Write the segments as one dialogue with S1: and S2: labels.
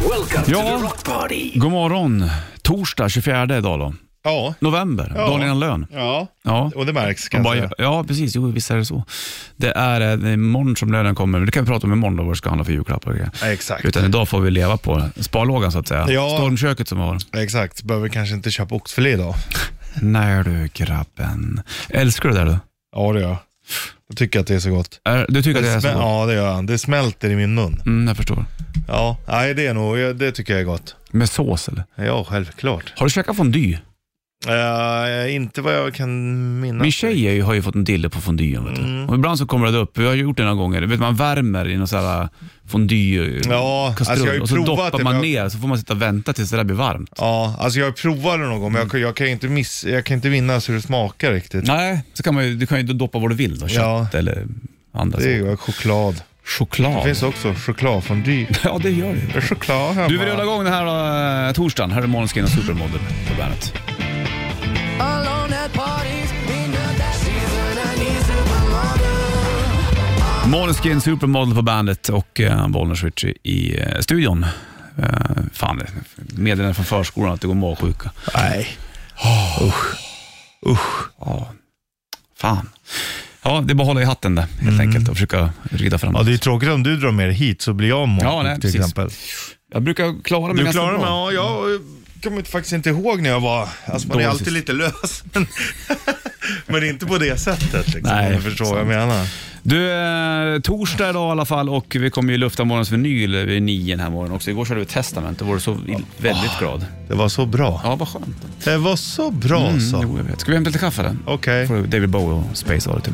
S1: Welcome to
S2: Ja.
S1: the Rock Party.
S2: God morgon. Torsdag 24 idag då.
S3: Ja.
S2: November,
S3: Ja.
S2: dagen innan lön.
S3: Ja,
S2: Ja.
S3: och det märks
S2: Och
S3: kan jag
S2: Bara,
S3: säga.
S2: ja, precis. Jo, visst är det så. Det är, eh, det är imorgon som lönen kommer. Det kan vi prata om imorgon då, vad vi ska handla för julklappar och grejer.
S3: Ja, Exakt.
S2: Utan idag får vi leva på sparlågan så att säga.
S3: Ja.
S2: Stormköket som vi har.
S3: Exakt, behöver kanske inte köpa oxfilé idag.
S2: Nej du grabben. Älskar du det där du?
S3: Ja, det gör jag. Jag tycker att det är så gott.
S2: Är- Du tycker att det är så?
S3: smä-
S2: gott?
S3: Ja, det gör jag. Det smälter i min mun.
S2: Mm, jag förstår.
S3: Ja, nej det är nog, jag- det tycker jag är gott.
S2: Med sås eller?
S3: Ja, självklart.
S2: Har du käkat fondue?
S3: Eh, inte vad jag kan minnas.
S2: Min tjej är ju, har ju fått en dille på fondyen. Vet du.
S3: Mm.
S2: Och ibland så kommer det upp, vi har gjort det några gånger, vet, man värmer i någon sån här eh, fondue
S3: Ja,
S2: kastrull,
S3: alltså jag har ju
S2: och så
S3: provat
S2: doppar
S3: det,
S2: man
S3: men
S2: ner så får man sitta och vänta tills det där blir varmt.
S3: Ja, alltså jag provade det någon gång, men jag, kan- jag, kan inte miss, jag kan inte minnas hur det smakar riktigt.
S2: Nej, så kan man ju, du kan ju doppa vad du vill då, kött
S3: Ja.
S2: eller andra
S3: Det är
S2: saker.
S3: ju choklad. Det
S2: Choklad.
S3: finns också chokladfondy.
S2: Ja, det gör det.
S3: Det är choklad hemma.
S2: Du, vi rullar igång den här eh, torsdagen. Här är Måneskin och Supermodel på bandet.
S4: Alone at parties in the dark season, I need supermodel.
S2: Måneskin, Supermodel på bandet och eh, Bollnäs Ritchie i eh, studion. Eh, fan, meddelande från förskolan att det går magsjuka.
S3: Nej.
S2: Ja, fan. Ja, det är bara att hålla i hatten där helt enkelt och försöka rida framåt.
S3: Ja, det är tråkigt om du drar med dig hit så blir jag magsjuk
S2: Ja, nej,
S3: till
S2: precis.
S3: exempel.
S2: Jag brukar klara mig
S3: Du
S2: ganska
S3: klarar mig?
S2: bra.
S3: Ja, jag eh, kommer inte- faktiskt inte ihåg när jag var... Alltså man
S2: Dålig
S3: är alltid
S2: sist.
S3: lite lös, men, men inte på det sättet. Liksom,
S2: Nej,
S3: om du förstår vad jag menar.
S2: Du, eh, torsdag idag i alla fall och vi kommer ju lufta morgons vinyl vid nio den här morgonen också. Igår körde vi Testament, då var du så i- väldigt glad.
S3: Det var så bra.
S2: Ja, vad skönt.
S3: Det var så bra så.
S2: Jo, jag vet. Ska vi hämta lite kaffe då?
S3: Okej.
S2: Får David Bowie och Space Oddity.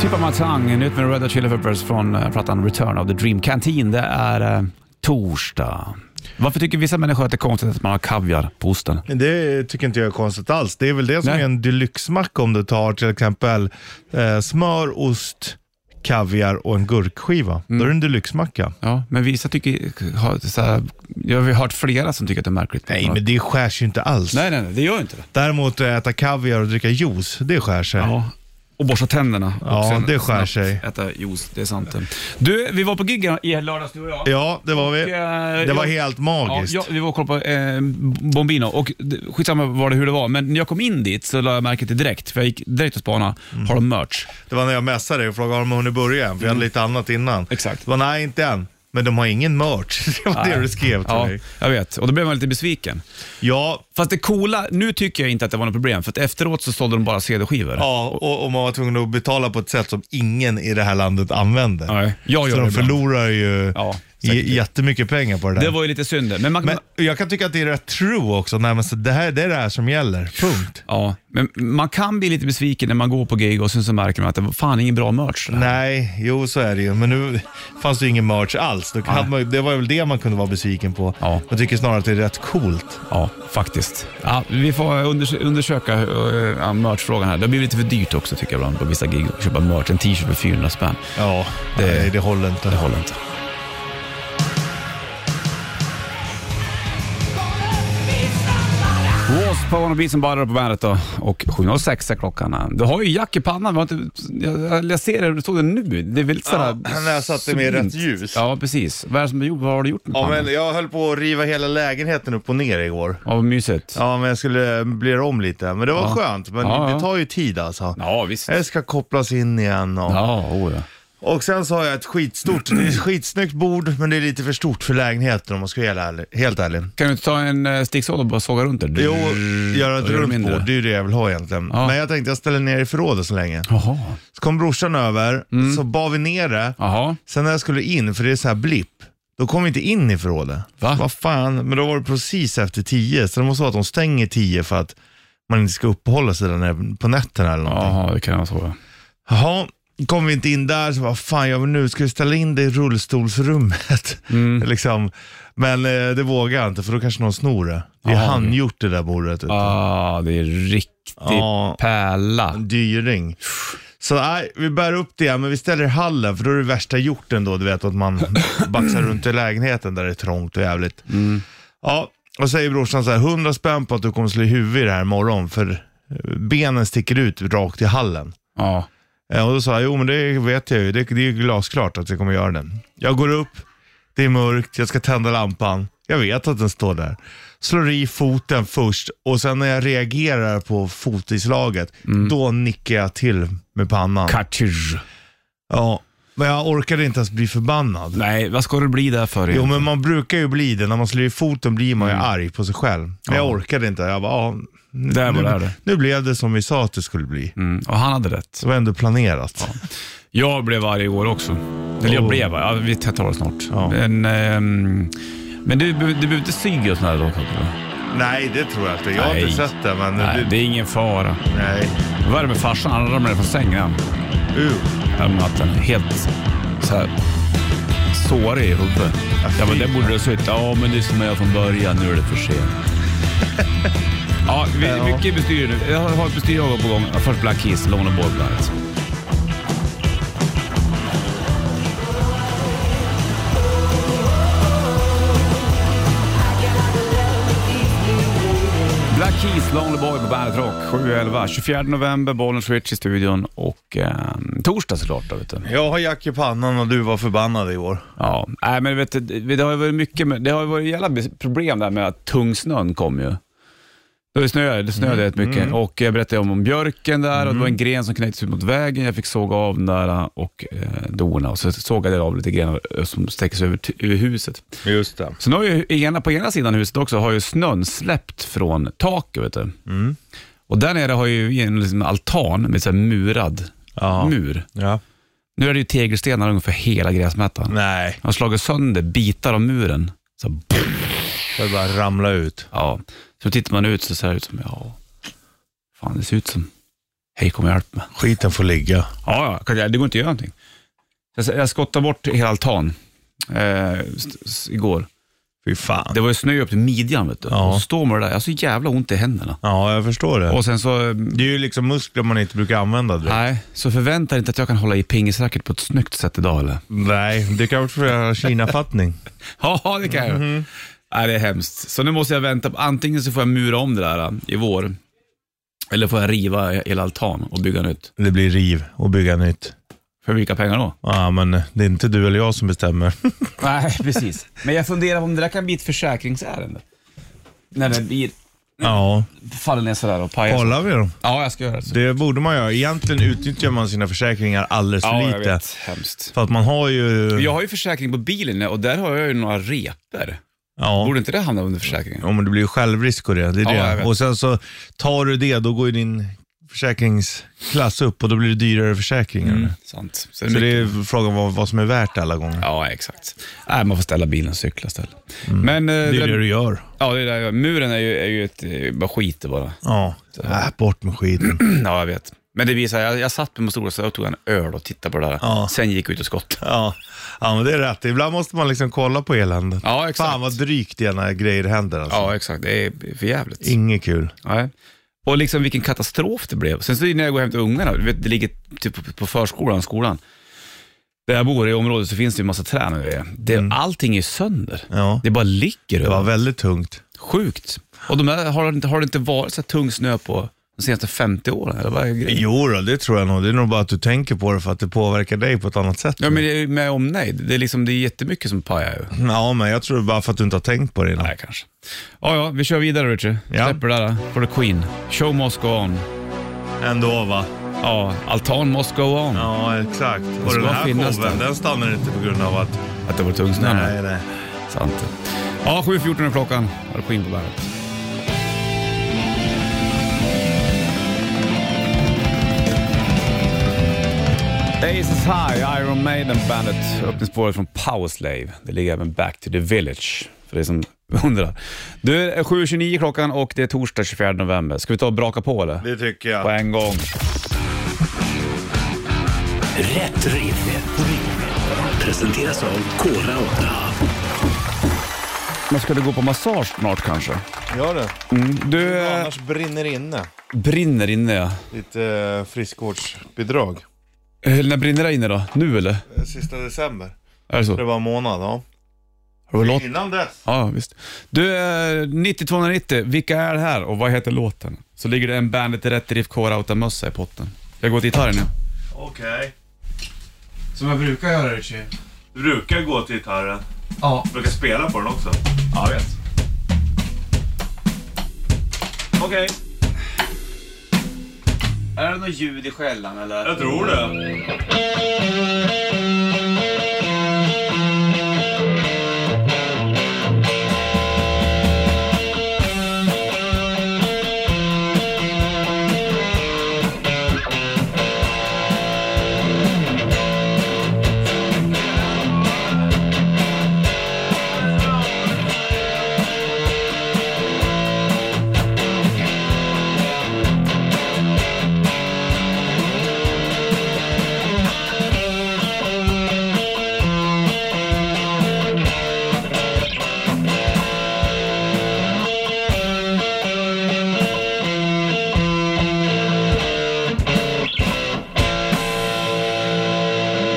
S2: Tippa Matang, nytt med Red Hot Chili Peppers från eh, plattan Return of the Dream Canteen. Det är eh, torsdag. Varför tycker vissa människor att det är konstigt att man har kaviar på osten?
S3: Men Det tycker inte jag är konstigt alls. Det är väl det som
S2: Nej.
S3: är en deluxe-macka om du tar till exempel eh, smör, ost, kaviar och en gurkskiva.
S2: Mm.
S3: Då är det en deluxe-macka.
S2: Ja, men vissa tycker... Har, så här, jag har ju hört flera som tycker att det är märkligt.
S3: Nej, men det skärs ju inte alls.
S2: nej, nej, nej, det gör ju inte det.
S3: Däremot eh, äta kaviar och dricka juice, det skär sig.
S2: Ja. Och borsta tänderna.
S3: Ja,
S2: och
S3: det skär
S2: snabbt
S3: sig.
S2: Äta juice, det är sant. Du, vi var på gig i lördags du och jag.
S3: Ja, det var vi.
S2: eh,
S3: det var
S2: jag-
S3: helt
S2: Ja,
S3: magiskt.
S2: ja, vi var och kollade på eh, Bombino och d- skitsamma var det hur det var, men när jag kom in dit så la jag märke till direkt, för jag gick direkt och spanade,
S3: Mm.
S2: har de merch?
S3: Det var när jag messade dig och frågade har de hunnit börja än, för jag hade lite annat innan.
S2: Mm. Exakt.
S3: Det var nej, inte än. Men de har ingen merch. Det var det
S2: Nej.
S3: du skrev till
S2: Ja,
S3: mig.
S2: jag vet, och då blev man lite besviken.
S3: Ja,
S2: Fast det coola, nu tycker jag inte att det var något problem, för att efteråt så sålde de bara CD-skivor.
S3: ja och, och man var tvungen att betala på ett sätt som ingen i det här landet använder.
S2: Nej, jag gör
S3: Så
S2: det
S3: de
S2: ibland.
S3: förlorar ju
S2: Ja, säkert.
S3: j- jättemycket pengar på det där.
S2: Det var ju lite synd, men, man,
S3: Men jag kan tycka att det är rätt true också. Nej, men så det, här, det är det här som gäller. Punkt.
S2: Ja, men man kan bli lite besviken när man går på gig och sen så märker man att det var fan ingen bra merch. där.
S3: Nej, jo så är det ju. Men nu fanns det ju ingen merch alls. Då hade man, ju- det var väl det man kunde vara besviken på.
S2: Ja.
S3: Jag tycker snarare att det är rätt coolt.
S2: Ja, faktiskt. Ja, vi får unders- undersöka eh, ja, merchfrågan här. Det har blivit lite för dyrt också tycker jag ibland på vissa gig att köpa merch. En t-shirt för 400 spänn.
S3: Ja, det,
S2: Det-
S3: nej, det håller inte.
S2: Det håller inte. Wasp på One Beat som badar på bandet då. Och 7.06 är klockan. Du har ju jack i pannan. Vi har Inte, jag, jag ser det, du såg det nu. Det är väl sådär...
S3: Ja, när jag satte mig i rätt ljus.
S2: Ja, precis. Vad är det som du gjort? Vad har du gjort med
S3: Ja,
S2: pannan?
S3: men jag höll på att riva hela lägenheten upp och ner igår.
S2: Ja, vad mysigt.
S3: Ja, men jag skulle bli om lite. Men det var
S2: Ja.
S3: skönt. Men
S2: Ja, ja.
S3: det tar ju tid alltså.
S2: Ja, visst.
S3: Det ska kopplas in igen och...
S2: Ja, oh ja.
S3: Och sen så har jag ett skitstort, det är ett skitsnyggt bord, men det är lite för stort för lägenheten om man ska vara helt ärlig. Helt ärlig.
S2: Kan du inte ta en eh, sticksåg och bara såga runt det?
S3: Jo, göra
S2: och
S3: ett
S2: gör det
S3: runt
S2: mindre.
S3: bord, det är ju det jag vill ha egentligen.
S2: Ja.
S3: Men jag tänkte jag ställer ner i förrådet så länge.
S2: Jaha.
S3: Så kom brorsan över, så bar vi ner det.
S2: Jaha.
S3: Sen när jag skulle in, för det är så här blipp, då kom vi inte in i förrådet.
S2: Va?
S3: Vad fan, men då var det precis efter tio, så det måste vara att de stänger tio för att man inte ska uppehålla sig där nere på nätterna eller någonting.
S2: Jaha, det kan jag såga.
S3: Jaha, kom vi inte in där så vad fan gör vi nu? Ska vi ställa in det i rullstolsrummet? liksom. Men eh, det vågar jag inte för då kanske någon snor det. Det är
S2: Jaha.
S3: handgjort det där bordet. vet du.
S2: Ah, det är riktigt
S3: Ja.
S2: pärla.
S3: En dyring. Så nej, vi bär upp det men vi ställer i hallen för då är det värsta gjort ändå. Du vet att man baxar runt i lägenheten där det är trångt och jävligt. Ja, och säger brorsan så här, 100 spänn på att du kommer slå i huvudet i det här imorgon för eh, benen sticker ut rakt i hallen.
S2: Ja.
S3: Eh, Och då sa jag, jo men det vet jag ju. Det, det är ju glasklart att jag kommer göra den. Jag går upp, det är mörkt, jag ska tända lampan. Jag vet att den står där. Slår i foten först och sen när jag reagerar på fotislaget,
S2: Mm.
S3: då nickar jag till med pannan.
S2: Kartur.
S3: ja, men jag orkade inte ens bli förbannad.
S2: Nej, vad ska du bli där för?
S3: Jo,
S2: egentligen?
S3: men man brukar ju bli det. När man slår i foten blir man ju
S2: Mm.
S3: arg på sig själv. Men jag orkade inte. Jag bara, ja, nu,
S2: Där var det här.
S3: nu, nu blev det som vi sa att det skulle bli.
S2: Mm, och han hade rätt.
S3: Det var ändå planerat.
S2: Jag blev arg igår också. Eller jag
S3: Oh.
S2: blev arg. Ja, vi tar det snart.
S3: Ja.
S2: Men, ehm, men du, du behöver inte sy och sådär då kanske?
S3: Nej, det tror jag inte. Jag har
S2: Nej.
S3: inte sett det, men...
S2: Nej, det är ingen fara.
S3: nej.
S2: Vad är det med farsan? Han ramlade från sängen
S3: Uh,
S2: häromnatten. Helt så här sårig i huvudet. Ja, men det borde du ha suttit. Ja, men det är som jag från början. Nu är det för sent. Ja, vi,
S3: Ja.
S2: mycket bestyr nu. Jag har ett bestyr jag har på gång. Först Black Keys, Lone Ball Blind. Black Keys, Lonely Boy på Bandet Rock. 7.11. 24 november, Bollnäs Switch i studion och eh, torsdag såklart. Då, vet du.
S3: jag har jack i pannan och du var förbannad igår.
S2: Ja, nej men vet du, det det har ju varit mycket, med- det har ju varit jävla be- problem där med att tungsnön kom ju. Då det snöade, det snöade rätt mycket och jag berättade om, om björken där och det var en gren som knäcktes ut mot vägen. Jag fick såga av den där och eh, dona och så sågade jag av lite grenar eh, som sträcker sig över, t- över huset.
S3: Just det.
S2: Så nu har ju ena, på ena sidan huset också har ju snön släppt från taket. Vet du. Och där nere har ju en liksom altan med så här murad
S3: Ja.
S2: mur.
S3: Ja.
S2: Nu är det ju tegelstenar ungefär hela gräsmattan.
S3: Nej,
S2: Han har slagit sönder bitar av muren. Så, här, boom.
S3: jag bara ramla ut.
S2: ja. så tittar man ut så ser det ut som, ja, fan det ser ut som, hej kom och hjälp mig.
S3: Skiten får ligga.
S2: Ja, ja, kan jag- det går inte att göra någonting. Jag, jag skottade bort hela altan eh, s- s- igår.
S3: Fy fan.
S2: Det var ju snö upp till midjan vet du.
S3: Ja.
S2: Och står man där, jag har så jävla ont i händerna.
S3: Ja, jag förstår det.
S2: Och sen så, eh,
S3: Det är ju liksom muskler man inte brukar använda. direkt.
S2: nej, så förvänta dig inte att jag kan hålla i pingisracket på ett snyggt sätt idag eller?
S3: Nej, det kan vara för att jag har kinafattning.
S2: Ja, det kan jag. Nej, det är hemskt. Så nu måste jag vänta. på- Antingen så får jag mura om det där äh, i vår, eller får jag riva hela altan och bygga nytt.
S3: Det blir riv och bygga nytt.
S2: För vilka pengar då?
S3: Ja, men det är inte du eller jag som bestämmer.
S2: Nej, precis. Men jag funderar på om det där kan bli ett försäkringsärende. När det blir,
S3: Ja,
S2: faller ner sådär och pajar.
S3: kollar vi dem.
S2: Ja, jag ska göra så.
S3: Det borde man göra. Egentligen utnyttjar man sina försäkringar alldeles för
S2: Ja, jag
S3: lite.
S2: vet. Hemskt.
S3: För att man har ju...
S2: Jag har ju försäkring på bilen och där har jag ju några repor.
S3: Ja.
S2: Borde inte det hamna under försäkringen?
S3: Ja, men det blir ju självrisk och det. det,
S2: Ja,
S3: är
S2: jag
S3: det.
S2: vet.
S3: Och sen så tar du det, då går ju din försäkringsklass upp och då blir det dyrare försäkringar.
S2: Sant. Så det
S3: Så
S2: är
S3: det är frågan vad, vad som är värt alla gånger.
S2: Ja, exakt. Nej, man får ställa bilen och cykla istället. Men, eh,
S3: Det
S2: det
S3: är det du gör.
S2: Ja, det där, muren är ju, är ju ett, eh, bara skit det bara.
S3: Ja, äh, bort med skiten.
S2: Ja, jag vet. Men det visar, jag, jag satt på min stora och tog en öl och tittade på det där.
S3: Ja.
S2: Sen gick jag ut och skottade.
S3: Ja. ja, men det är rätt. Ibland måste man liksom kolla på eländet.
S2: Ja, exakt.
S3: Fan vad drygt det är när grejer händer alltså.
S2: Ja, exakt. Det är för jävligt.
S3: Inget kul.
S2: Nej. Och liksom vilken katastrof det blev. Sen så när jag går hem till ungarna, du vet, det ligger typ på- på förskolan, skolan. Där jag bor i området så finns det ju en massa träd och grejer. det, Allting är ju sönder.
S3: Mm. Ja.
S2: Det bara ligger
S3: Det var
S2: överallt.
S3: väldigt tungt.
S2: Sjukt. Och de där, har, det inte- har det inte varit så här tung snö på de senaste 50 åren? Eller vad är grejen?
S3: Jo då, det tror jag nog. Det är nog bara att du tänker på det för att det påverkar dig på ett annat sätt.
S2: Ja, men det är med omnejd. Det är, liksom, det är jättemycket som pajar ju.
S3: Ja, men jag tror det är bara för att du inte har tänkt på det innan.
S2: Nej, kanske. Ja, ja, vi kör vidare Richard.
S3: Ja.
S2: Släpper det där. Får du Queen. Show must go on.
S3: Ändå va?
S2: Ja, altan must go on.
S3: Ja, exakt. Och
S2: ska
S3: den här
S2: finnas
S3: showen,
S2: där.
S3: den stannar inte på grund av att...
S2: Att det var tung snö. nu.
S3: nej.
S2: Sant. Ja, 7.14 är klockan. Har du Queen på bandet. Aces High, Iron Maiden Bandet. Öppningsspåret från Power Slave. Det ligger även Back to the Village, för det som undrar. Du, är 7.29 klockan och det är torsdag 24 november. Ska vi ta och braka på eller?
S3: Det tycker
S2: På
S3: jag.
S2: en gång.
S1: Rätt riff. Presenteras av Kora 8.
S2: Man skulle gå på massage snart kanske.
S3: Gör det.
S2: Du eh,
S3: Annars brinner inne.
S2: brinner inne ja.
S3: Lite eh, friskvårdsbidrag.
S2: Eh, När brinner det inne då? Nu eller?
S3: Eh, Sista december.
S2: Är det så?
S3: Det var en månad, ja.
S2: Har du låt?
S3: Innan dess.
S2: Ja, visst. Du, eh, 9290, vilka är det här och vad heter låten? Så ligger det en Bandet i Rätt Drift K-Rauta-mössa i potten. Jag går till gitarren nu.
S3: Okej.
S2: Som jag brukar göra Richie.
S3: Du brukar gå till gitarren.
S2: Ja.
S3: Du brukar spela på den också.
S2: Ja, jag vet.
S3: Okej,
S2: Är det något ljud i skällan eller?
S3: jag tror det.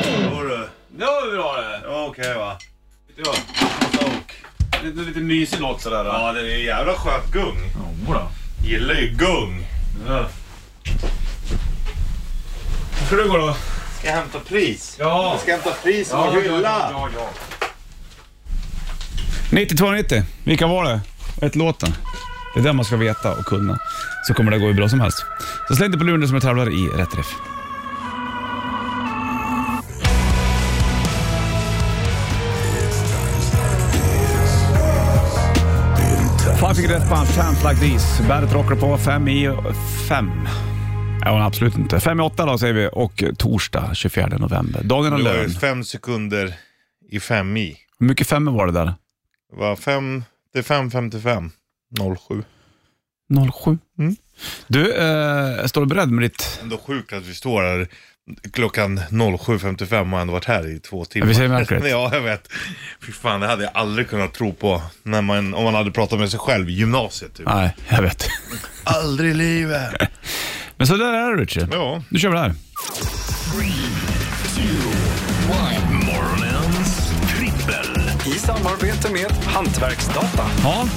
S3: Tror du?
S2: Det var bra det.
S3: Ja, Okej va?
S2: Ja. Lite, lite mysig låt sådär.
S3: Ja, det är jävla skönt gung.
S2: Jodå.
S3: Gillar ju gung.
S2: Ja. ska du gå då?
S3: Ska jag hämta pris?
S2: Ja.
S3: Ska jag hämta pris och
S2: Ja, ja, ja, ja. 9290, vilka var det? Ett låten. Det är det man ska veta och kunna. Så kommer det gå hur bra som helst. Så släng dig på luren du som är tävlare i Rätt Riff. Five Finger Death Punch, Chance Like These. Bandet rockar på fem i fem. Ja, absolut inte. Fem i åtta då säger vi och torsdag 24 november. Dagen av
S3: Det var ju
S2: lön.
S3: fem sekunder i fem i.
S2: Hur mycket femmor var det där?
S3: Det var fem, det är 5.55. 07.
S2: 07.
S5: Mm.
S2: Du, eh, står du beredd med ditt...
S3: Ändå sjukt att vi står här klockan 07.55 och ändå varit här i två timmar.
S2: Ja, vi säger märkligt.
S3: ja, jag vet. Fy fan, det hade jag aldrig kunnat tro på när man, om man hade pratat med sig själv i gymnasiet. Typ.
S2: Nej, jag vet.
S3: Aldrig i livet.
S2: Men så där är det Richard.
S3: Ja.
S2: Nu kör vi det här.
S1: Morgonens trippel.
S5: I samarbete med Hantverksdata.
S2: Ja.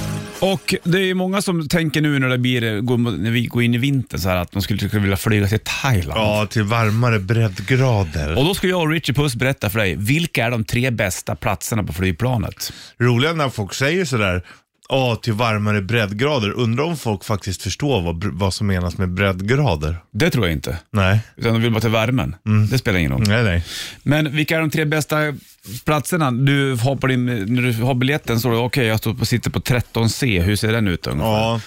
S2: Och det är många som tänker nu när, det blir, går mot- när vi går in i vintern så här att de skulle tycka vilja flyga till Thailand.
S3: ja, till varmare breddgrader.
S2: Och då ska jag och Richard Puss berätta för dig, vilka är de tre bästa platserna på flygplanet?
S3: roliga när folk säger sådär, ja till varmare breddgrader. Undrar om folk faktiskt förstår vad, br- vad som menas med breddgrader?
S2: Det tror jag inte.
S3: Nej.
S2: Utan de vill bara till värmen.
S5: Mm.
S2: Det spelar ingen roll.
S3: Nej, nej.
S2: Men vilka är de tre bästa platserna? Du har på din, när du har biljetten står det, okej jag står på, sitter på 13C, hur ser den ut ungefär?
S3: Ja.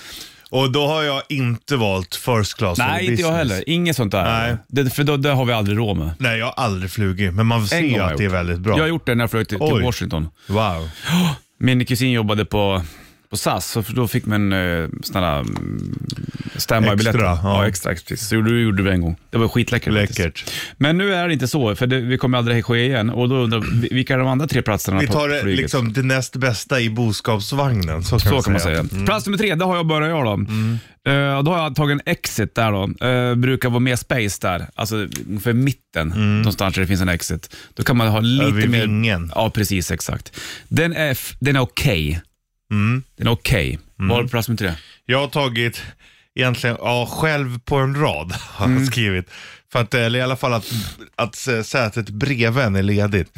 S3: Och då har jag inte valt first class eller
S2: Nej, inte jag
S3: business.
S2: heller. Inget sånt där.
S3: Nej.
S2: Det, för då, det har vi aldrig råd med.
S3: Nej, jag har aldrig flugit, men man ser
S2: gång
S3: ju
S2: har
S3: att
S2: jag
S3: det är
S2: gjort.
S3: väldigt bra.
S2: Jag har gjort det när jag flög till,
S3: Oj.
S2: till Washington.
S3: Wow.
S2: Min kusin jobbade på, på SAS, så då fick man eh, såna där mm, standby-biljetter.
S3: Extra, ja.
S2: extra. Precis. Så gjorde, gjorde vi en gång. Det var skitläckert. faktiskt.
S3: Läckert.
S2: Men nu är det inte så, för det, vi kommer aldrig ske igen. Och då undrar vi, vilka är de andra tre platserna
S3: Vi
S2: på
S3: tar det,
S2: flyget?
S3: liksom, det näst bästa i boskapsvagnen. Så kan,
S2: Så
S3: man,
S2: kan man
S3: säga.
S2: säga. Plats nummer tre, där har jag börjat jag då.
S3: Mm.
S2: Eh, och då har jag tagit en exit där då. Eh, brukar vara mer space där, alltså för mitten någonstans där det finns en exit. Då kan man ha lite
S3: Mm. Över
S2: mer...
S3: vingen.
S2: Ja, precis exakt. Den är, f- den är okej.
S3: Mm.
S2: Den är okej. Vad har du på plats nummer tre?
S3: Jag har tagit, egentligen, ja, själv på en rad har jag skrivit. För att, eller i alla fall att, att sä- sätet bredvid en är ledigt.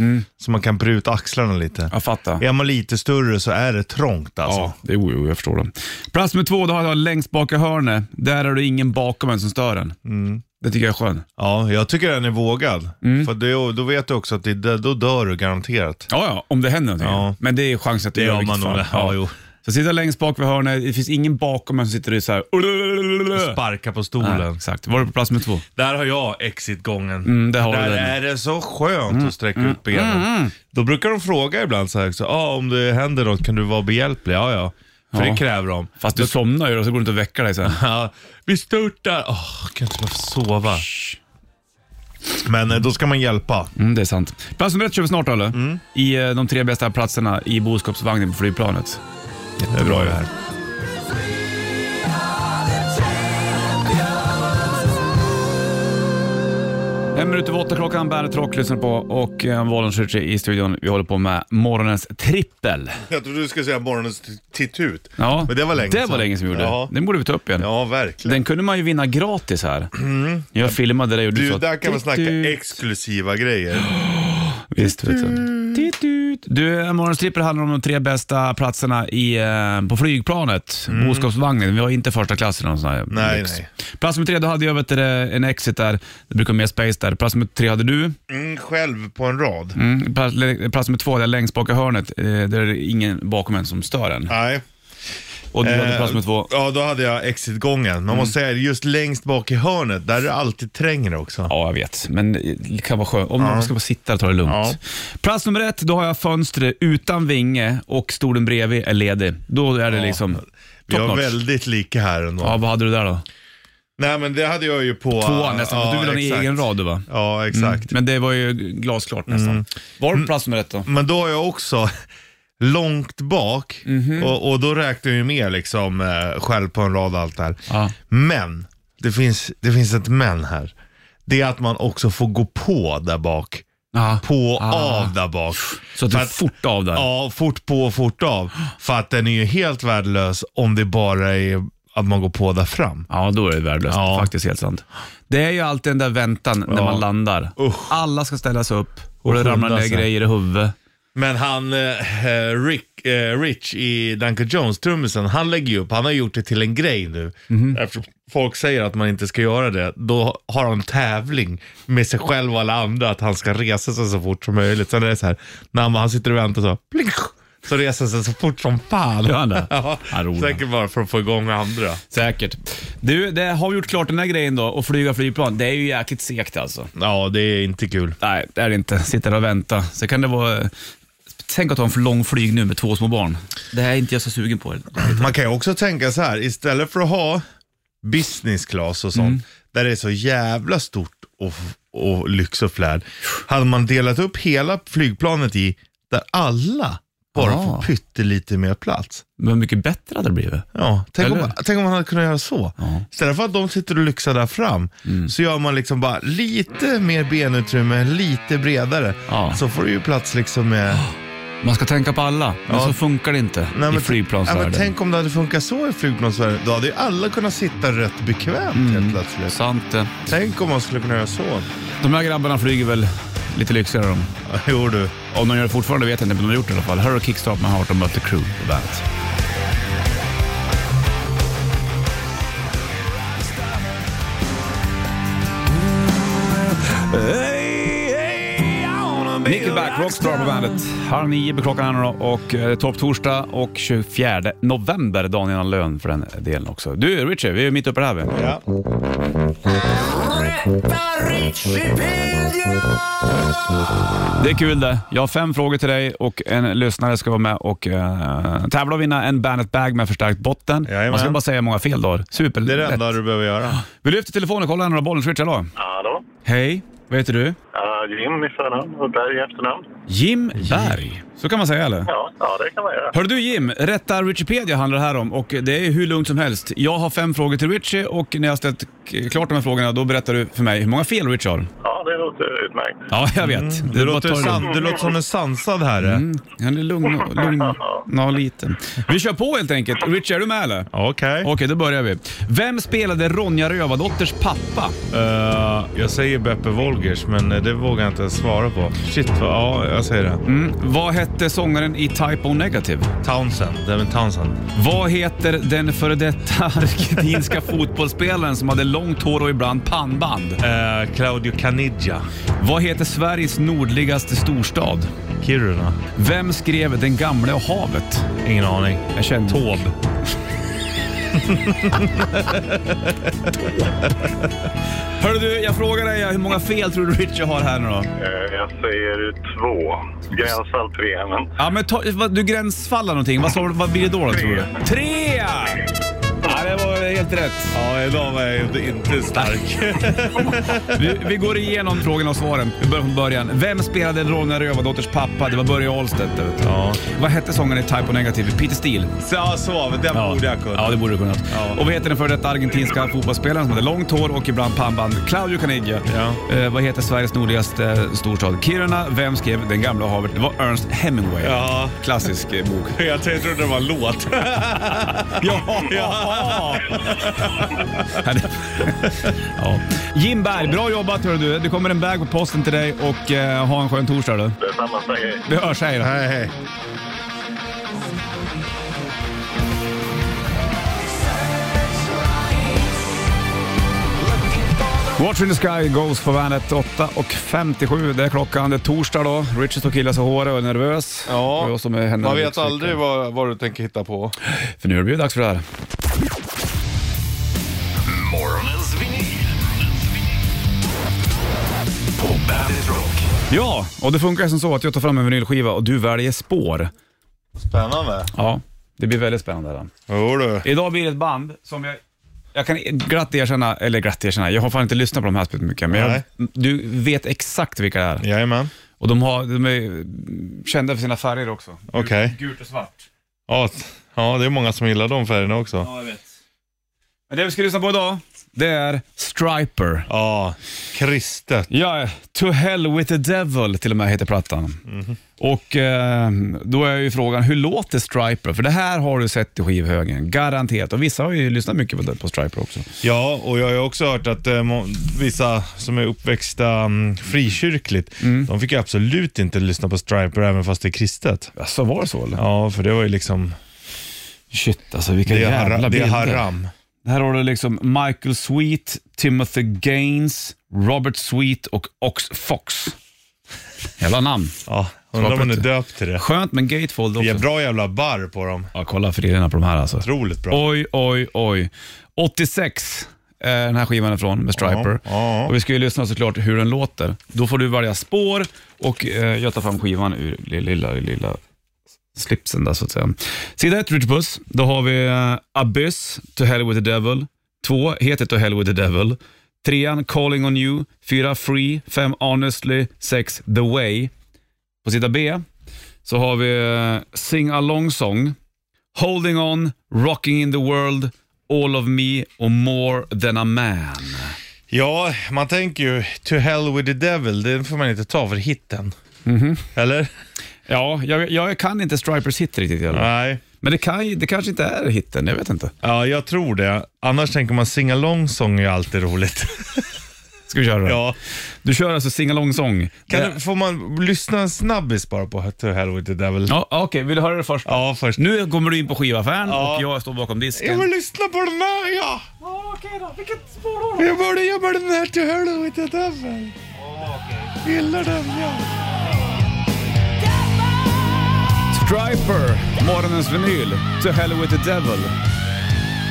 S3: Så man kan bryta axlarna lite.
S2: Jag fattar.
S3: Är man lite större så är det trångt alltså.
S2: Ja, det, jo, jo, jag förstår det. Plats nummer två, då har jag längst bak i hörnet. Där är det ingen bakom en som stör en.
S3: Mm.
S2: Det tycker jag är skönt.
S3: Ja, jag tycker den är vågad. För det, då vet du också att det, då dör du garanterat.
S2: Ja, ja, om det händer någonting.
S3: Ja.
S2: Men det är chans att det,
S3: Det
S2: gör
S3: gör
S2: i vilket
S3: man
S2: fall.
S3: nog. Ja, jo.
S2: Så sitta längst bak vid hörnet, det finns ingen bakom en som sitter och så här...
S3: Sparka på
S2: Nej,
S3: stolen.
S2: exakt. Var du på plats med två?
S3: Där har jag exitgången.
S2: där har
S3: Där
S2: du den.
S3: är det så skönt att sträcka ut benen. Då brukar de fråga ibland så här, också, ah, om det händer något kan du vara behjälplig? Ja, ja. För
S2: Ja.
S3: det kräver de.
S2: Fast du somnar ju och så går det inte att väcka dig sen.
S3: Ja, vi störtar. Åh, kan inte bara få sova. Men eh, då ska man hjälpa.
S2: Mm, det är sant. Plats nummer ett kör vi snart, eller?
S3: Mm.
S2: I eh, de tre bästa platserna i boskapsvagnen på flygplanet.
S3: Det är bra det här.
S2: Eh, En minut över åtta klockan, Bandet Rock lyssnar på och eh, Wollenschild i studion. Vi håller på med morgonens trippel.
S3: Jag trodde du skulle säga morgonens t- tittut.
S2: Ja,
S3: Men det var länge
S2: Det
S3: sedan.
S2: var länge sedan vi gjorde.
S3: Ja.
S2: Den borde vi ta upp igen.
S3: Ja, verkligen. Mm.
S2: Den kunde man ju vinna gratis här. Jag filmade dig och du,
S3: Du,
S2: sa...
S3: där kan man snacka
S2: "Tut, tut."
S3: exklusiva grejer.
S2: Visst vet
S3: Mm.
S2: du. Tut, tut. Du, morgonens trippel handlar om de tre bästa platserna i, eh, på flygplanet. Boskapsvagnen. Vi har inte första klass eller någon sån här
S3: Mm. Nej,
S2: lyx.
S3: nej.
S2: Plats nummer tre, då hade jag vet, du, en exit där. Det brukar vara mer space där. Plats nummer tre hade du.
S3: Mm, själv på en rad.
S2: Mm, plats, plats nummer två, där längst bak i hörnet, eh, där är det ingen bakom en som stör en.
S3: Nej.
S2: Och du hade
S3: Eh,
S2: plats nummer två.
S3: Ja, då hade jag exitgången.
S2: Mm.
S3: Man måste säga just längst bak i hörnet, där är det alltid trängre också.
S2: Ja, jag vet. Men det kan vara skönt. Om man ska bara sitta och ta det lugnt.
S3: Ja.
S2: Plats nummer ett, då har jag fönstret utan vinge och stolen bredvid är ledig. Då är det liksom
S3: Vi
S2: top
S3: var
S2: notch.
S3: väldigt lika här ändå.
S2: Ja, vad hade du där då?
S3: Nej, men det hade jag ju på...
S2: Tvåan nästan.
S3: Ja,
S2: du vill ha en
S3: exakt.
S2: egen rad du va?
S3: Ja, Mm. exakt.
S2: Men det var ju glasklart nästan. Var det plats nummer ett då?
S3: Men då är jag också långt bak
S2: Mhm.
S3: och, och då räknar jag ju med liksom eh, själv på en rad och allt det här.
S2: Ja.
S3: Men, det finns, det finns ett men här. Det är att man också får gå på där bak.
S2: Ja.
S3: På och
S2: Ah.
S3: av där bak.
S2: Så att du
S3: För
S2: fort av där.
S3: Ja, fort på och fort av. För att den är ju helt värdelös om det bara är att man går på där fram.
S2: Ja, då är det värdelöst.
S3: Ja.
S2: Faktiskt helt sant. Det är ju alltid den där väntan när
S3: Ja.
S2: man landar.
S3: Usch.
S2: Alla ska ställa sig upp och
S3: Och
S2: det ramlar
S3: skynda
S2: ner
S3: sig.
S2: grejer i huvudet.
S3: Men han, eh, eh, Rick, eh, Rich i Duncan Jones, trummisen, han lägger ju upp, han har gjort det till en grej nu.
S2: Mhm.
S3: Eftersom folk säger att man inte ska göra det, då har han tävling med sig själv och alla andra att han ska resa sig så fort som möjligt. Sen är det så här, när han, han sitter och väntar så, plink, så reser han sig så fort som fan.
S2: Gör han det?
S3: ja,
S2: Ja, roligt.
S3: säkert bara för att få igång andra.
S2: Säkert. Du, det har vi gjort klart den här grejen då, att flyga flygplan. Det är ju jäkligt segt alltså.
S3: Ja, det är inte kul.
S2: Nej, det är det inte. Sitta där och vänta. Så kan det vara... Tänk att ha en för lång flyg nu med två små barn. Det här är inte jag så sugen på.
S3: Man kan ju också tänka så här, istället för att ha business class och sånt,
S2: Mm.
S3: där det är så jävla stort och, och lyx och flärd. Hade man delat upp hela flygplanet i, där alla bara
S2: Ah.
S3: får pyttelite mer plats.
S2: Men mycket bättre hade det blivit.
S3: Ja, tänk, om,
S2: Eller?
S3: tänk om man hade kunnat göra så. Istället för att de sitter och lyxar där fram,
S2: Mm.
S3: så gör man liksom bara lite mer benutrymme, lite bredare.
S2: Ja.
S3: Så får du ju plats liksom med...
S2: Man ska tänka på alla, men
S3: Ja.
S2: så funkar det inte i
S3: ja,
S2: flygplansvärlden.
S3: men tänk om det hade funkat så i flygplansvärlden. Då hade ju alla kunnat sitta rätt bekvämt
S2: Mm.
S3: helt plötsligt.
S2: Sant det.
S3: Tänk om man skulle kunna göra så.
S2: De här grabbarna flyger väl lite lyxigare de.
S3: Ja, Jo du.
S2: Om de gör det fortfarande vet jag inte, men de har gjort det i alla fall. Här har Kickstart med Heart och Mötley Crew på bandet. Nickelback, Rockstar på bandet. Halv nio på klockan här nu då och eh, topptorsdag och 24 november, dagen innan lön för den delen också. Du Richard, vi är mitt uppe i det här. vi.
S3: Ja.
S2: Det är kul det. Jag har fem frågor till dig och en lyssnare ska vara med och eh, tävla och vinna en Bandet Bag med förstärkt botten.
S3: Jajamän.
S2: Man ska bara säga hur många fel dagar.
S3: Det är det
S2: Superlätt.
S3: enda du behöver göra.
S2: Vi lyfter telefonen och kollar några bollen. Switch, hallå?
S6: Hallå?
S2: Hej, vad heter du?
S6: Uh, Jim i förnamn och Berg i efternamn.
S2: Jim Berg. Så kan man säga eller?
S6: Ja, ja, det kan man göra.
S2: Hör du Jim, rätta Wikipedia handlar det här om och det är hur lugnt som helst. Jag har fem frågor till Richie och när jag har ställt k- klart de här frågorna då berättar du för mig hur många fel Richie har.
S6: Ja, det låter utmärkt.
S2: Ja, jag vet. Det
S3: Du
S2: är bara att ta
S3: Mm,
S2: det lugnt.
S3: låter, san, du låter som en sansad herre.
S2: Mm, han är lugn och, lugn ja, liten. Vi kör på helt enkelt. Richie, är du med eller?
S3: Okej.
S2: Okej, då börjar vi. Vem spelade Ronja Rövardotters pappa?
S3: Eh, jag säger Beppe Wolgers, men eh, det vågar jag inte ens svara på. Shit, vad, ja, jag säger det.
S2: Mm. Vad hette sångaren i Type O Negative?
S3: Townsend, Devin Townsend.
S2: Vad heter den före detta argentinska fotbollsspelaren som hade långt hår och ibland pannband?
S3: Eh, Claudio Caniggia,
S2: Vad heter Sveriges nordligaste storstad?
S3: Kiruna.
S2: Vem skrev Den gamle och havet?
S3: Ingen aning.
S2: Jag känner...
S3: Tåb.
S2: Hörru du, jag frågar dig hur många fel tror du Richie har här nu då?
S6: Eh, jag säger två. Gränsfall tre, men...
S2: Ja, men ta, vad- du gränsfallar någonting. Vad, sa, du- vad blir det då, då tror du? Tre! Ja, det var helt Ett rätt.
S3: Ja, idag var jag inte, inte stark.
S2: Vi, vi går igenom frågorna och svaren. Vi börjar från början. Vem spelade Ronja Rövardotters pappa? Det var Börje Ahlstedt. du vet.
S3: Ja,
S2: Vad hette sången i Type O Negative? Peter Steele.
S3: så, ja, så men den borde jag kunna.
S2: Ja, det borde du kunnat.
S3: Ja.
S2: Och vad heter den före detta argentinska fotbollsspelaren som hade långt hår och ibland pannband? Claudio Caniggia.
S3: Ja.
S2: Eh, vad heter Sveriges nordligaste eh, storstad? Kiruna. Vem skrev Den gamla havet? Det var Ernst Hemingway.
S3: Ja.
S2: Klassisk eh, bok.
S3: Jag trodde det var en låt.
S2: Ja!
S3: ja.
S2: Ja, det- ja. Jim Berg, bra jobbat hör du. Det kommer en bag på posten till dig och eh, ha en skön torsdag du.
S6: Det är samma sak.
S2: Vi hörs, hej då.
S3: Hej, hej.
S2: Watch in the sky goes för bandet 8.57. Det är klockan, det är torsdag då. Richard och killar sig håret och är nervös.
S3: Ja.
S2: Och jag som är henne
S3: Man vet aldrig vad, vad du tänker hitta på.
S2: För nu är det ju dags för det här.
S1: Morgonens vinyl. På Bandit Rock.
S2: Ja, och det funkar som så att jag tar fram en vinylskiva och du väljer spår.
S3: Spännande.
S2: Ja, det blir väldigt spännande. Då.
S3: Jo du.
S2: Idag blir det ett band som jag... Jag kan glatt erkänna, eller glatt erkänna, jag har fan inte lyssnat på de här så mycket, men jag, du vet exakt vilka det är.
S3: Jajamän.
S2: Och de, har, de är kända för sina färger också.
S3: Okej.
S2: Gult och svart.
S3: Ja, t- ja, det är många som gillar de färgerna också.
S2: Ja, jag vet. Men det vi ska lyssna på idag, det är Striper.
S3: Ja, kristet.
S2: Ja, To Hell With The Devil till och med heter plattan.
S3: Mhm.
S2: Och eh, då är ju frågan, hur låter Striper? För det här har du sett i skivhögen, garanterat. Och vissa har ju lyssnat mycket på, det- på Striper också.
S3: Ja, och jag har ju också hört att eh, må- vissa som är uppväxta mm, frikyrkligt, de fick ju absolut inte lyssna på Striper även fast det är kristet.
S2: Alltså var det så eller?
S3: Ja, för det var ju liksom,
S2: Shit alltså, vilka
S3: det är,
S2: jävla
S3: hara, det
S2: bilder.
S3: är haram.
S2: Här har du liksom Michael Sweet, Timothy Gaines, Robert Sweet och Ox Fox. Jävla namn.
S3: Ja, undrar om man är
S2: Striper.
S3: döpt till det.
S2: Skönt med en gatefold
S3: Det är
S2: också.
S3: bra jävla barr på dem.
S2: Ja, kolla frillerna på de här alltså.
S3: Otroligt bra.
S2: Oj, oj, oj. 86 är den här skivan ifrån med Striper.
S3: Ja, ja.
S2: Och vi ska ju lyssna såklart hur den låter. Då får du välja spår och eh, jag tar fram skivan ur li- lilla, lilla slipsen där så att säga. Sida 1, Richard Puss. Då har vi eh, Abyss, To Hell With The Devil. 2 heter To Hell With The Devil. 3 Calling On You. 4 Free. 5 Honestly. 6 The Way. På sida B så har vi eh, Sing Along Song. Holding On, Rocking in the World, All of Me och More than a man.
S3: Ja, man tänker ju to hell with the devil, det får man inte ta för hitten. Mhm. Eller?
S2: Ja, jag, jag kan inte Stripers hit riktigt heller.
S3: Nej.
S2: Men det, kan, ju- det kanske inte är hitten, jag vet inte.
S3: Ja, jag tror det. Annars tänker man sing along song är alltid roligt.
S2: Ska vi köra det?
S3: ja.
S2: Du kör alltså Sing Along Song?
S3: Kan
S2: Det-
S3: du, får man lyssna en snabbis bara på To Hell With The Devil?
S2: Ja, Okej, vill du höra det först?
S3: Ja, först.
S2: Nu kommer du in på skivaffären
S3: Ja.
S2: och jag står bakom disken.
S3: Jag vill lyssna på den här ja! Okej då, vilket spår har du? Jag borde gömma den här To Hell With The Devil. Gillar den ja.
S2: Striper, morgonens vinyl, To Hell With The Devil.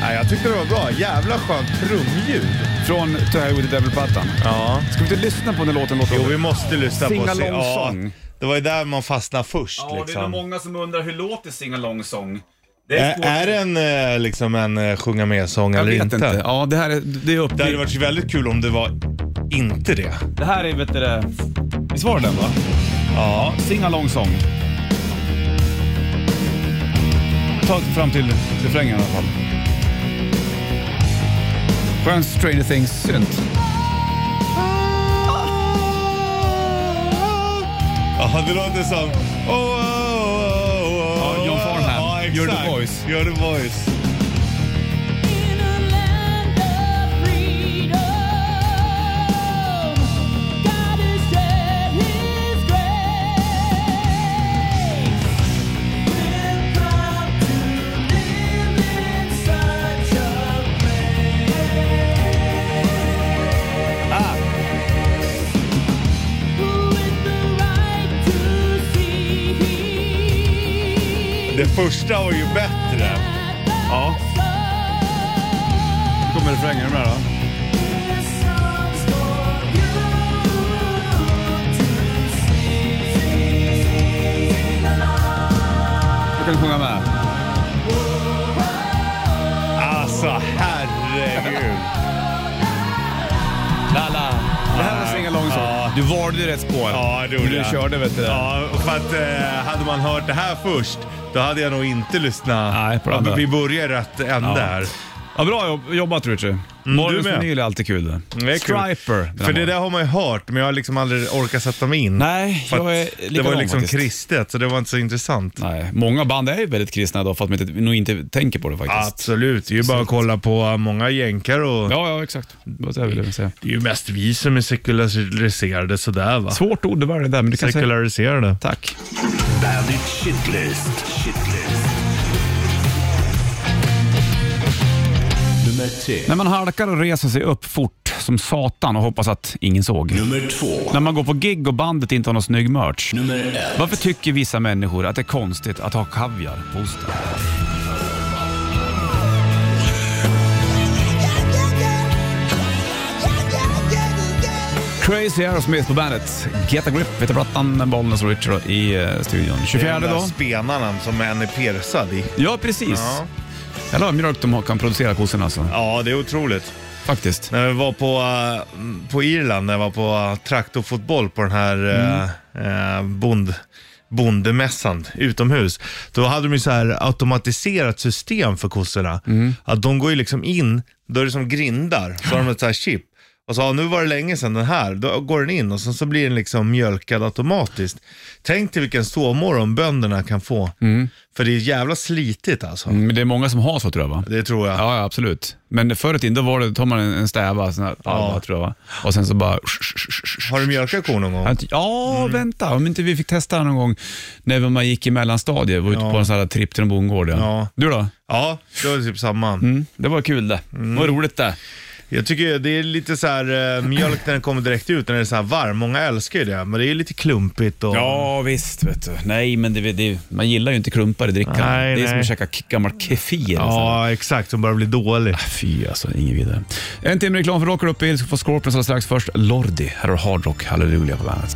S3: Nej, jag tyckte det var bra. Jävla skönt trumljud.
S2: Från To Hell With The Devil-plattan.
S3: Ja.
S2: Ska vi inte lyssna på när låten låter?
S3: Jo, vi måste lyssna
S2: Sing
S3: på...
S2: along
S3: ja,
S2: song.
S3: Det var ju där man fastnade först liksom.
S2: många som undrar hur låter Sing Along Song?
S3: Ä- är det en, eh, liksom en eh, sjunga med-sång
S2: Jag
S3: eller
S2: vet
S3: inte?
S2: inte. Ja, det här är, det är upp
S3: Det hade varit väldigt kul om det var inte det.
S2: Det här är, vet du det... Visst var det den va?
S3: Ja.
S2: Sing along song. Ta fram till refrängen i alla fall. Skön Stranger Things-synt.
S3: Ja, det låter som... Oh, oh, oh, oh,
S2: Ja, John Farnham.
S3: Ja, exakt.
S2: You're the voice.
S3: You're the voice.
S7: In a land of freedom, God has shed His grace. We're proud to live in such a place. With the right to see
S3: Det första var ju bättre.
S2: Ja. Nu kommer refrängen. Är du med då? Jag kan sjunga med.
S3: Alltså, herre herregud.
S2: Lala. Det här var Sing Along Song. Du valde ju rätt spår.
S3: Ja, det gjorde
S2: Men Du
S3: jag.
S2: körde vet du.
S3: Ja, för att eh, hade man hört det här först, då hade jag nog inte lyssnat.
S2: Nej, på det andra.
S3: Ja, vi börjar i rätt ände
S2: Ja.
S3: här.
S2: Ja, bra jobb, jobbat Richard. Morgons
S3: Mm, med.
S2: vinyl är alltid kul det.
S3: Det är kul.
S2: Striper.
S3: För det där har man ju hört, men jag har liksom aldrig orkat sätta mig in.
S2: Nej,
S3: För
S2: jag är
S3: att
S2: likadan
S3: det var ju liksom
S2: faktiskt.
S3: kristet, så det var inte så intressant.
S2: Nej, många band är ju väldigt kristna idag fast man inte, nog inte tänker på det faktiskt.
S3: Absolut, det är ju bara att kolla på många jänkar och...
S2: Ja, ja exakt. Det var det jag ville säga.
S3: Det är ju mest vi som är sekulariserade sådär va.
S2: Svårt ord det var det där, men du kan säga...
S3: Sekulariserade.
S2: Tack.
S1: Bandit Shitlist. Shitlist. Nummer tre.
S2: När man halkar och reser sig upp fort som satan och hoppas att ingen såg.
S1: Nummer två.
S2: När man går på gig och bandet inte har någon snygg merch.
S1: Nummer ett.
S2: Varför tycker vissa människor att det är konstigt att ha kaviar på osten? Crazy Aerosmith på bandet. Get a grip heter plattan, Bollnäs och Richard i eh, studion. 24
S3: Den där
S2: dag.
S3: spenarna som en är persad i.
S2: Ja, precis.
S3: Ja.
S2: Jävlar vad mjölk de har- kan producera kossorna alltså.
S3: Ja, det är otroligt.
S2: Faktiskt.
S3: När vi var på, eh, mm, på Irland, när jag var på eh, traktorfotboll på den här
S2: Mm.
S3: eh, eh, bond, bondemässan utomhus. Då hade de ju så här automatiserat system för kossorna.
S2: Mm.
S3: Att de går ju liksom in, då är det som grindar, så har de ett så här chip. Och så, ja, nu var det länge sedan den här, då går den in och sen så blir den liksom mjölkad automatiskt. Tänk till vilken sovmorgon bönderna kan få.
S2: Mm.
S3: För det är jävla slitigt alltså.
S2: Men det är många som har så tror jag va?
S3: Det tror jag.
S2: Mm. Ja, ja, absolut. Men förr i tiden då var det, tar man en, en stäva, sån här, ja. tror jag va? Och sen så bara...
S3: Har du mjölkat kor någon gång?
S2: Ja, vänta. Om inte vi fick testa någon gång när man gick i mellanstadiet, var ute på en sån här tripp till en bondgård. Ja.
S3: Ja.
S2: Du då?
S3: Ja, det var typ samma.
S2: Det var kul det. Det var roligt det.
S3: Jag tycker det är lite så här eh, mjölk när den kommer direkt ut, när den är så här varm. Många älskar ju det, men det är lite klumpigt och...
S2: Ja, visst. Vet du. Nej, men det, det, man gillar ju inte klumpar i drickan.
S3: Nej,
S2: det är som
S3: nej.
S2: att käka k- gammal kefir.
S3: Ja, exakt. Som börjar bli dålig.
S2: Fy alltså, inget vidare. En timme reklam för Rocker Uphill, ska få Scorpions alldeles strax. Först Lordi, här har du Hard Rock Hallelujah på bandet.
S4: I've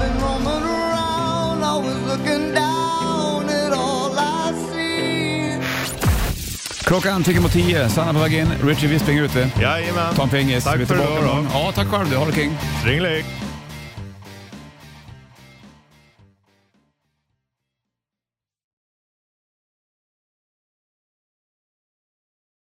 S4: been roaming around, always looking down at all I see.
S2: Klockan tickar mot tio, Sanna på väg in, Richie vi springer ute.
S3: Jajamän.
S2: Ta en pingis.
S3: Tack
S2: Vi är
S3: för
S2: tillbaka
S3: idag då.
S2: imorgon. Ja, tack själv du. Ha det king.
S3: Ringlig.